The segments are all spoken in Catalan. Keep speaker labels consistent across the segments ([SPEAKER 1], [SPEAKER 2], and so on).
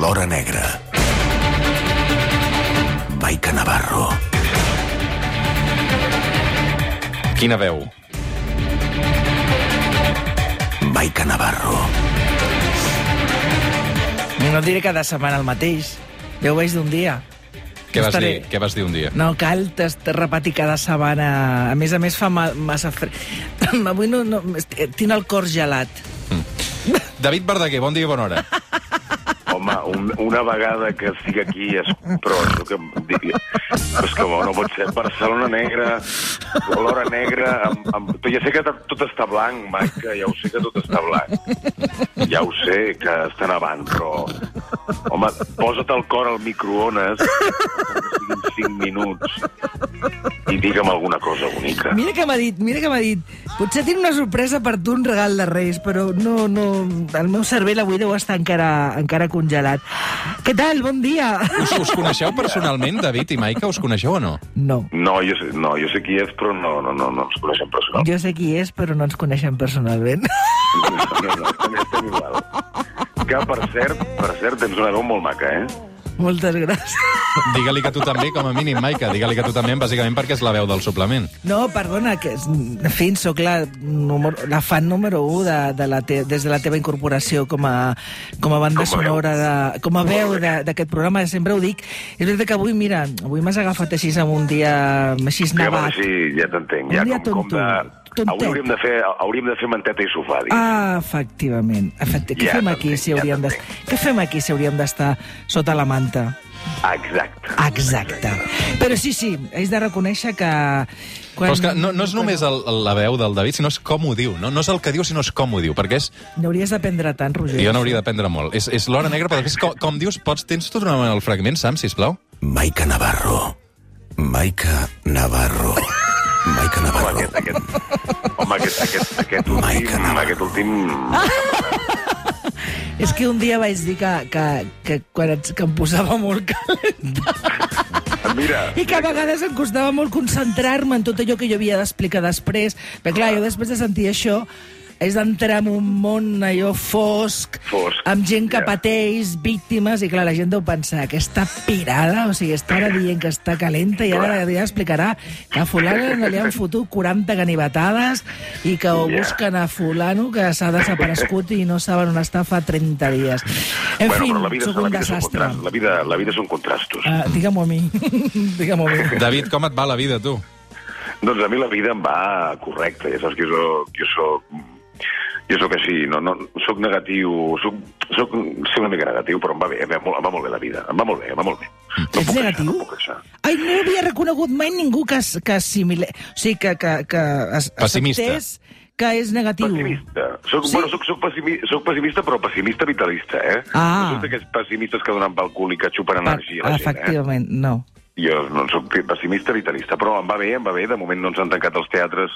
[SPEAKER 1] l'hora negra. Maica Navarro.
[SPEAKER 2] Quina veu?
[SPEAKER 1] Maica Navarro.
[SPEAKER 3] No et diré cada setmana el mateix. Ja ho veig d'un dia.
[SPEAKER 2] Què
[SPEAKER 3] No
[SPEAKER 2] vas, dir,
[SPEAKER 3] estaré-
[SPEAKER 2] què vas dir un dia?
[SPEAKER 3] No, cal test- repetir cada setmana. A més a més fa mal, massa fred. Avui no, no, esti- tinc el cor gelat.
[SPEAKER 2] David Verdaguer, bon dia i bona hora.
[SPEAKER 4] Home, un, una vegada que estic aquí és... Però això que em digui... És que no pot ser Barcelona negra, l'hora negra... Amb, amb... tu Ja sé que tot- tot està blanc, Maica, ja ho sé que tot està blanc. Ja ho sé, que està nevant, però... Home, posa't el cor al microones, que siguin 5 minuts, i digue'm alguna cosa bonica.
[SPEAKER 3] Mira que m'ha dit, mira que m'ha dit. Potser tinc una sorpresa per tu, un regal de Reis, però no, no, el meu cervell avui deu estar encara, encara congelat. Què tal? Bon dia.
[SPEAKER 2] Us, us coneixeu personalment, David i Maica? Us coneixeu o no?
[SPEAKER 3] No,
[SPEAKER 4] No, jo sé, no, jo sé qui és, però no, no, no, no ens coneixem personalment.
[SPEAKER 3] jo sé qui és, però no ens coneixem personalment.
[SPEAKER 4] No, no, no, també estem igual. Que, per cert, per cert, tens una veu molt maca, eh?
[SPEAKER 3] Moltes gràcies.
[SPEAKER 2] Digue-li que tu també, com a mínim, Maica. Digue-li que tu també, bàsicament perquè és la veu del suplement.
[SPEAKER 3] No, perdona, que, és- en fi, sóc la, número, la fan número 1 de, de la te, des de la teva incorporació com a, com a banda
[SPEAKER 4] Com a
[SPEAKER 3] sonora, de, com a veu de- d'aquest programa, sempre ho dic. És veritat que avui, mira, avui m'has agafat així amb un dia així
[SPEAKER 4] Ja, bueno,
[SPEAKER 3] nevat.
[SPEAKER 4] sí, ja t'entenc.
[SPEAKER 3] Un
[SPEAKER 4] Ja,
[SPEAKER 3] dia
[SPEAKER 4] com, com de...
[SPEAKER 3] tonto,
[SPEAKER 4] Avui
[SPEAKER 3] tontet.
[SPEAKER 4] hauríem de, fer, hauríem de fer manteta i sofà, diguem.
[SPEAKER 3] Ah, efectivament. Efecti
[SPEAKER 4] Ja
[SPEAKER 3] Què fem
[SPEAKER 4] t'entenc,
[SPEAKER 3] aquí si
[SPEAKER 4] ja
[SPEAKER 3] hauríem d'estar...
[SPEAKER 4] t'entenc.
[SPEAKER 3] Què fem aquí si hauríem d'estar sota la manta?
[SPEAKER 4] Ah. Exacte.
[SPEAKER 3] Exacte. Però sí, sí, haig de reconèixer que... Quan...
[SPEAKER 2] Però és que no, no és només el, el- la veu del David, sinó és com ho diu. No, no és el que diu, sinó és com ho diu, perquè és...
[SPEAKER 3] N'hauries d'aprendre tant, Roger.
[SPEAKER 2] Jo n'hauria d'aprendre molt. És, és l'hora negra, però després, com, com dius, pots... Tens tot una el fragment, Sam, sisplau?
[SPEAKER 1] Maica Navarro. Maica Navarro. Maica
[SPEAKER 4] Home,
[SPEAKER 1] Navarro.
[SPEAKER 4] aquest, aquest, home, aquest, aquest, aquest
[SPEAKER 1] Maica
[SPEAKER 4] últim...
[SPEAKER 1] Navarro.
[SPEAKER 4] Aquest últim...
[SPEAKER 3] És que un dia vaig dir que, que, que, quan et, que em posava molt calenta
[SPEAKER 4] Mira,
[SPEAKER 3] i que a vegades em costava molt concentrar-me en tot allò que jo havia d'explicar després. Perquè, clar, jo després de sentir això és d'entrar en un món allò fosc,
[SPEAKER 4] Fosc,
[SPEAKER 3] amb gent que
[SPEAKER 4] ja.
[SPEAKER 3] pateix, víctimes, i clar, la gent deu pensar, aquesta pirada, o sigui, està ara dient que està calenta i ara ja explicarà que a fulano no li han fotut 40 ganivetades i que ho
[SPEAKER 4] Ja.
[SPEAKER 3] busquen a fulano que s'ha desaparegut i no saben on està fa 30 dies. En
[SPEAKER 4] bueno,
[SPEAKER 3] fi,
[SPEAKER 4] però la vida,
[SPEAKER 3] sóc
[SPEAKER 4] la
[SPEAKER 3] un
[SPEAKER 4] vida, són
[SPEAKER 3] desastre.
[SPEAKER 4] contrastos. La vida, la vida són contrastos.
[SPEAKER 3] Uh, Digue-m'ho a mi. Digue-m'ho a mi.
[SPEAKER 2] David, com et va la vida, tu?
[SPEAKER 4] Doncs a mi la vida em va correcta, ja saps que jo soc... Jo soc jo sóc així, no, no, sóc negatiu, sóc, sóc, soc una mica negatiu, però em va bé, em va, molt, em va molt bé la vida, em va molt bé, em va molt bé. No
[SPEAKER 3] Mm. Ets
[SPEAKER 4] puc
[SPEAKER 3] negatiu?
[SPEAKER 4] Queixar, no puc queixar.
[SPEAKER 3] Ai, no havia reconegut mai ningú que, es- que assimile... O sigui, que, que, que es,
[SPEAKER 2] Pessimista.
[SPEAKER 3] acceptés que és negatiu.
[SPEAKER 4] Pessimista. Soc,
[SPEAKER 3] Sí?
[SPEAKER 4] sí? bueno, soc, soc, pessimi, soc pessimista, però pessimista vitalista, eh?
[SPEAKER 3] Ah.
[SPEAKER 4] No soc d'aquests pessimistes que donen pel cul i que xupen
[SPEAKER 3] Per-
[SPEAKER 4] energia a la gent, eh?
[SPEAKER 3] Efectivament, no.
[SPEAKER 4] Jo no soc pessimista vitalista, però em va bé, em va bé. De moment no ens han tancat els teatres,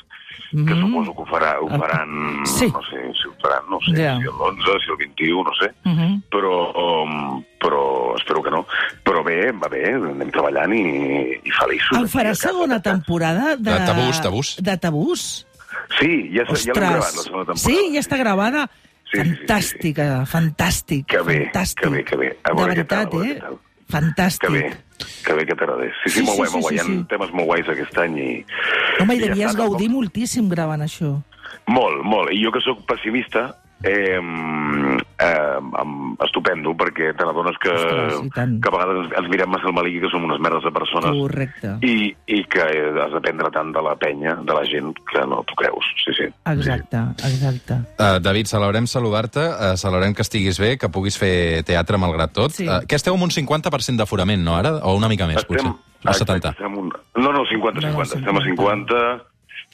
[SPEAKER 4] que
[SPEAKER 3] Mhm.
[SPEAKER 4] suposo que ho, farà, ho faran,
[SPEAKER 3] Sí.
[SPEAKER 4] no sé, si ho faran, no sé,
[SPEAKER 3] Ja.
[SPEAKER 4] si l'11, si el 21, no sé.
[SPEAKER 3] Mhm.
[SPEAKER 4] Però, um, però espero que no. Però bé, em va bé, anem treballant i, i feliços.
[SPEAKER 3] El Ah, farà
[SPEAKER 4] aquí a casa.
[SPEAKER 3] segona temporada de...
[SPEAKER 2] De Tabús, Tabús.
[SPEAKER 3] De tabús?
[SPEAKER 4] Sí, ja, se- ja l'hem gravat, la
[SPEAKER 3] Ostres.
[SPEAKER 4] segona temporada.
[SPEAKER 3] sí, ja està gravada.
[SPEAKER 4] Sí, sí, sí, sí, sí.
[SPEAKER 3] Fantàstica, fantàstic.
[SPEAKER 4] Que bé,
[SPEAKER 3] fantàstic.
[SPEAKER 4] que bé, que bé. A
[SPEAKER 3] De
[SPEAKER 4] veure què tal,
[SPEAKER 3] veritat,
[SPEAKER 4] a veure
[SPEAKER 3] eh?
[SPEAKER 4] què tal.
[SPEAKER 3] Fantàstic.
[SPEAKER 4] Que bé, que bé que t'agradés. Sí, sí,
[SPEAKER 3] Sí,
[SPEAKER 4] molt
[SPEAKER 3] sí,
[SPEAKER 4] guai,
[SPEAKER 3] sí,
[SPEAKER 4] molt guai. Hi
[SPEAKER 3] sí,
[SPEAKER 4] ha
[SPEAKER 3] sí.
[SPEAKER 4] temes molt guais aquest any i...
[SPEAKER 3] Home, i
[SPEAKER 4] ja
[SPEAKER 3] devies
[SPEAKER 4] està,
[SPEAKER 3] gaudir
[SPEAKER 4] tampoc-
[SPEAKER 3] moltíssim gravant això.
[SPEAKER 4] Molt, molt. I jo que sóc pessimista, eh, eh, em- estupendo, perquè te n'adones que,
[SPEAKER 3] Ostres, i tant.
[SPEAKER 4] que a vegades ens- ens mirem massa al maligui, que som unes merdes de persones,
[SPEAKER 3] Correcte.
[SPEAKER 4] i, i que has d'aprendre tant de la penya, de la gent, que no t'ho creus. Sí, sí.
[SPEAKER 3] Exacte, exacte.
[SPEAKER 2] Uh, David, celebrem saludar-te, uh, celebrem que estiguis bé, que puguis fer teatre malgrat tot.
[SPEAKER 3] Sí.
[SPEAKER 2] Uh, que esteu amb un 50% d'aforament, no, ara? O una mica més, potser? O
[SPEAKER 4] exacte,
[SPEAKER 2] 70.
[SPEAKER 4] estem un... No, no, 50,
[SPEAKER 3] No, no,
[SPEAKER 4] 50. Estem a
[SPEAKER 3] 50.
[SPEAKER 4] 50,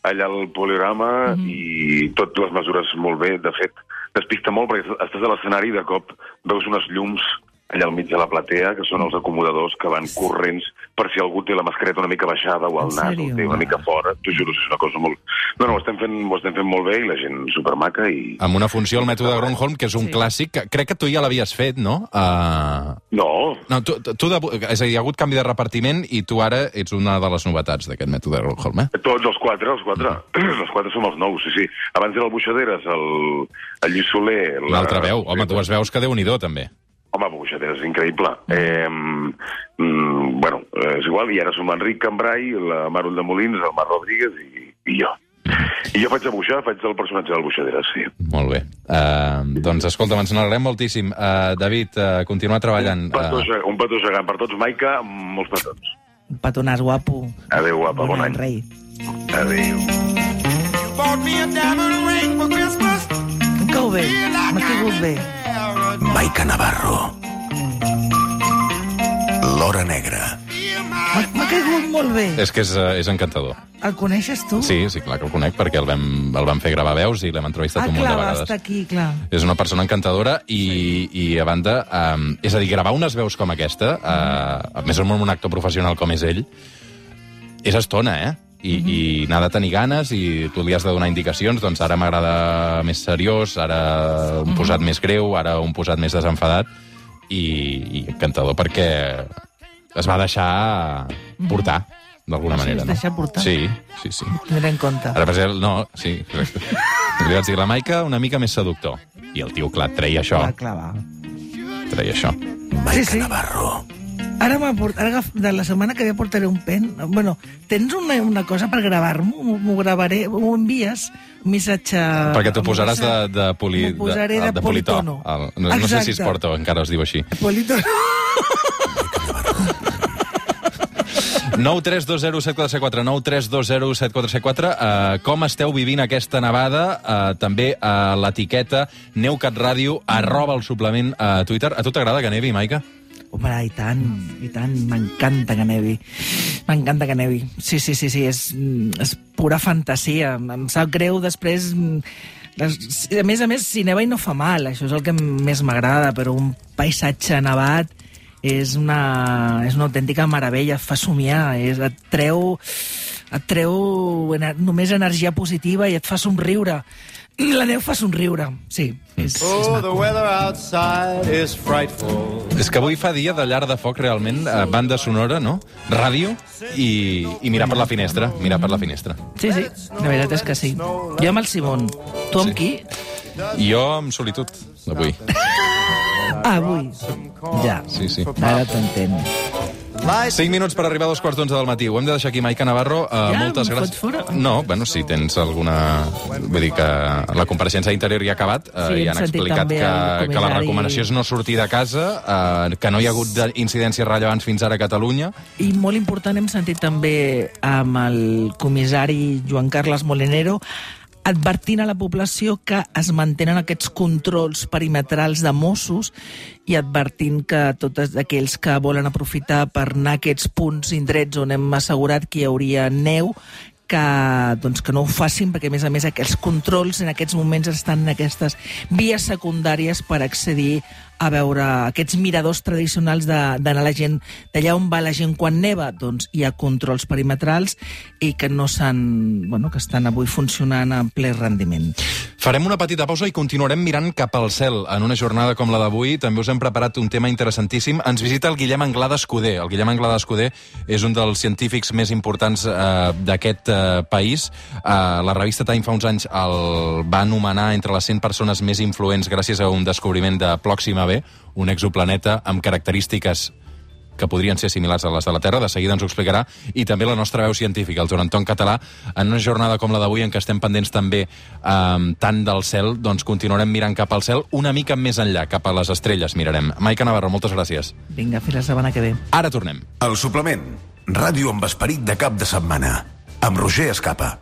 [SPEAKER 4] allà al poligrama,
[SPEAKER 3] Mhm.
[SPEAKER 4] i tot les mesures molt bé. De fet, despista molt perquè estàs a l'escenari i de cop veus unes llums allà al mig de la platea, que són els acomodadors que van corrents per si algú té la mascareta una mica baixada o el
[SPEAKER 3] En
[SPEAKER 4] nas
[SPEAKER 3] sèrio?
[SPEAKER 4] el té una mica fora. T'ho juro, és una cosa molt... No, no, ho estem fent, ho estem fèiem molt bé i la gent supermaca i...
[SPEAKER 2] Amb una funció al mètode Gronholm, que és un
[SPEAKER 3] Sí.
[SPEAKER 2] sí. clàssic, que crec que tu ja l'havies fet, no? Uh,
[SPEAKER 4] No,
[SPEAKER 2] no, tu, tu de, és a dir, hi ha hagut canvi de repartiment i tu ara ets una de les novetats d'aquest mètode Gronholm, eh?
[SPEAKER 4] Tots els quatre, els quatre. Els quatre som els nous, sí, sí. Abans era el Buixaderes, el, el Lluís Soler... la-
[SPEAKER 2] L'altra veu, home, dues veus que déu nhi també.
[SPEAKER 4] Home, Buixader és increïble. Eh, mm, bueno, eh, és igual, i ara som l'Enric Cambrai, la Marol de Molins, el Marc Rodríguez i, i jo. I jo faig de Buixà, faig el personatge del Buixadera, sí.
[SPEAKER 2] Molt bé. Uh, doncs escolta'm, ens n'alegrem moltíssim. Uh, David, uh, continuar treballant.
[SPEAKER 4] Un petó, uh... un petó gegant per tots. Maica, molts petons.
[SPEAKER 3] Un Petonàs guapo.
[SPEAKER 4] Adéu, guapa,
[SPEAKER 3] Bon
[SPEAKER 4] bon
[SPEAKER 3] any,
[SPEAKER 4] any.
[SPEAKER 3] rei.
[SPEAKER 4] Adéu.
[SPEAKER 5] You bought me a diamond ring for Christmas.
[SPEAKER 3] Em cau bé,
[SPEAKER 5] Feel like
[SPEAKER 3] m'ha caigut
[SPEAKER 5] I'm
[SPEAKER 3] bé.
[SPEAKER 5] in heaven.
[SPEAKER 1] Maica Navarro. L'hora negra.
[SPEAKER 5] Feel
[SPEAKER 3] M'ha
[SPEAKER 5] my
[SPEAKER 3] m'ha caigut molt bé.
[SPEAKER 2] És que és, uh, és encantador.
[SPEAKER 3] El coneixes tu?
[SPEAKER 2] Sí, sí, clar que el conec, perquè el vam, el vam fer gravar veus i l'hem entrevistat
[SPEAKER 3] Ah,
[SPEAKER 2] un munt
[SPEAKER 3] clar,
[SPEAKER 2] de
[SPEAKER 3] va
[SPEAKER 2] vegades.
[SPEAKER 3] estar aquí, clar.
[SPEAKER 2] És una persona encantadora i, sí. i a banda, um, és a dir, gravar unes veus com aquesta, uh, a més amb un actor professional com és ell, és estona, eh? I, mm
[SPEAKER 3] Mhm.
[SPEAKER 2] -hmm. i n'ha de tenir ganes i tu li has de donar indicacions, doncs ara m'agrada més seriós, ara
[SPEAKER 3] Mhm.
[SPEAKER 2] un posat més greu, ara un posat més desenfadat i, i encantador perquè es va deixar portar d'alguna
[SPEAKER 3] Sí,
[SPEAKER 2] manera.
[SPEAKER 3] es
[SPEAKER 2] no?
[SPEAKER 3] deixa portar.
[SPEAKER 2] Sí, sí, sí.
[SPEAKER 3] Tindré en compte.
[SPEAKER 2] Ara per exemple, no, sí, correcte. Li vaig dir la Maica una mica més seductor. I el tio, clar, treia això,
[SPEAKER 3] Va, clar, va.
[SPEAKER 2] treia això.
[SPEAKER 1] Maica
[SPEAKER 3] sí.
[SPEAKER 1] Navarro.
[SPEAKER 3] Ara, m'ha port- ara agaf- de la setmana que ve portaré un pen. Bueno, tens una, una cosa per gravar-m'ho? M'ho- M'ho gravaré, m'ho envies? Un missatge...
[SPEAKER 2] Perquè t'ho
[SPEAKER 3] un
[SPEAKER 2] posaràs de,
[SPEAKER 3] missatge-
[SPEAKER 2] de, poli,
[SPEAKER 3] M'ho posaré de,
[SPEAKER 2] politó.
[SPEAKER 3] politono.
[SPEAKER 2] El, no, no sé si es
[SPEAKER 3] Exacte.
[SPEAKER 2] porta, encara es diu així.
[SPEAKER 3] Politono.
[SPEAKER 2] 9 3 2 0 7 4 7 4 9 3 2 0 7 4 7 4 uh, Com esteu vivint aquesta nevada? Uh, també a uh, l'etiqueta neucatradio arroba el suplement eh, a Twitter. A tu t'agrada que nevi, Maica?
[SPEAKER 3] Home, i tant, i tant, m'encanta que nevi. M'encanta que nevi. Sí, sí, sí, sí, és, mm, és pura fantasia. Em sap greu després... mm, les- A més a més, si neva i no fa mal, això és el que més m'agrada, però un paisatge nevat és una, és una autèntica meravella, fa somiar, és, et treu, et treu ener, només energia positiva i et fa somriure. La neu fa somriure, sí. És, és
[SPEAKER 6] Oh,
[SPEAKER 3] maco.
[SPEAKER 6] the weather outside is frightful.
[SPEAKER 2] És que avui fa dia de llar de foc, realment, eh, banda sonora, no? Ràdio i, i mirar per la finestra, mirar per la finestra.
[SPEAKER 3] Sí, sí, la veritat és que sí. Jo amb el Simon. Tu amb
[SPEAKER 2] Sí.
[SPEAKER 3] qui?
[SPEAKER 2] I jo amb solitud, avui.
[SPEAKER 3] Ah, avui. Ja.
[SPEAKER 2] Sí, sí.
[SPEAKER 3] Ara t'entenc.
[SPEAKER 2] 5 minuts per arribar a dos quarts d'onze del matí. Ho hem de deixar aquí, Maica Navarro. Uh,
[SPEAKER 3] Ja,
[SPEAKER 2] moltes
[SPEAKER 3] em
[SPEAKER 2] gràcies.
[SPEAKER 3] fots fora?
[SPEAKER 2] No, bueno, si tens alguna... Vull dir que la compareixença interior ja ha acabat uh,
[SPEAKER 3] Sí,
[SPEAKER 2] i
[SPEAKER 3] hem
[SPEAKER 2] han
[SPEAKER 3] sentit
[SPEAKER 2] explicat
[SPEAKER 3] també
[SPEAKER 2] que,
[SPEAKER 3] el
[SPEAKER 2] que la
[SPEAKER 3] comissari.
[SPEAKER 2] recomanació és no sortir de casa, uh, que no hi ha hagut de- incidències rellevants fins ara a Catalunya.
[SPEAKER 3] I molt important, hem sentit també amb el comissari Joan Carles Molinero advertint a la població que es mantenen aquests controls perimetrals de Mossos i advertint que tots aquells que volen aprofitar per anar a aquests punts indrets on hem assegurat que hi hauria neu, que, doncs, que no ho facin, perquè a més a més aquests controls en aquests moments estan en aquestes vies secundàries per accedir a veure aquests miradors tradicionals de- d'anar la gent d'allà on va la gent quan neva, doncs hi ha controls perimetrals i que no s'han... Bueno, que estan avui funcionant en ple rendiment.
[SPEAKER 2] Farem una petita pausa i continuarem mirant cap al cel. En una jornada com la d'avui també us hem preparat un tema interessantíssim. Ens visita el Guillem Anglada Escudé. El Guillem Anglada Escudé és un dels científics més importants eh, d'aquest eh, país. Eh, la revista Time fa uns anys el va anomenar entre les 100 persones més influents gràcies a un descobriment de Pròxima B, un exoplaneta amb característiques que podrien ser similars a les de la Terra, de seguida ens ho explicarà, i també la nostra veu científica, el Joan Anton Català, en una jornada com la d'avui, en què estem pendents també um, tant del cel, doncs continuarem mirant cap al cel, una mica més enllà, cap a les estrelles mirarem. Maica Navarro, moltes gràcies.
[SPEAKER 3] Vinga, fins la setmana que ve.
[SPEAKER 2] Ara tornem.
[SPEAKER 1] El suplement. Ràdio amb esperit de cap de setmana. Amb Roger Escapa.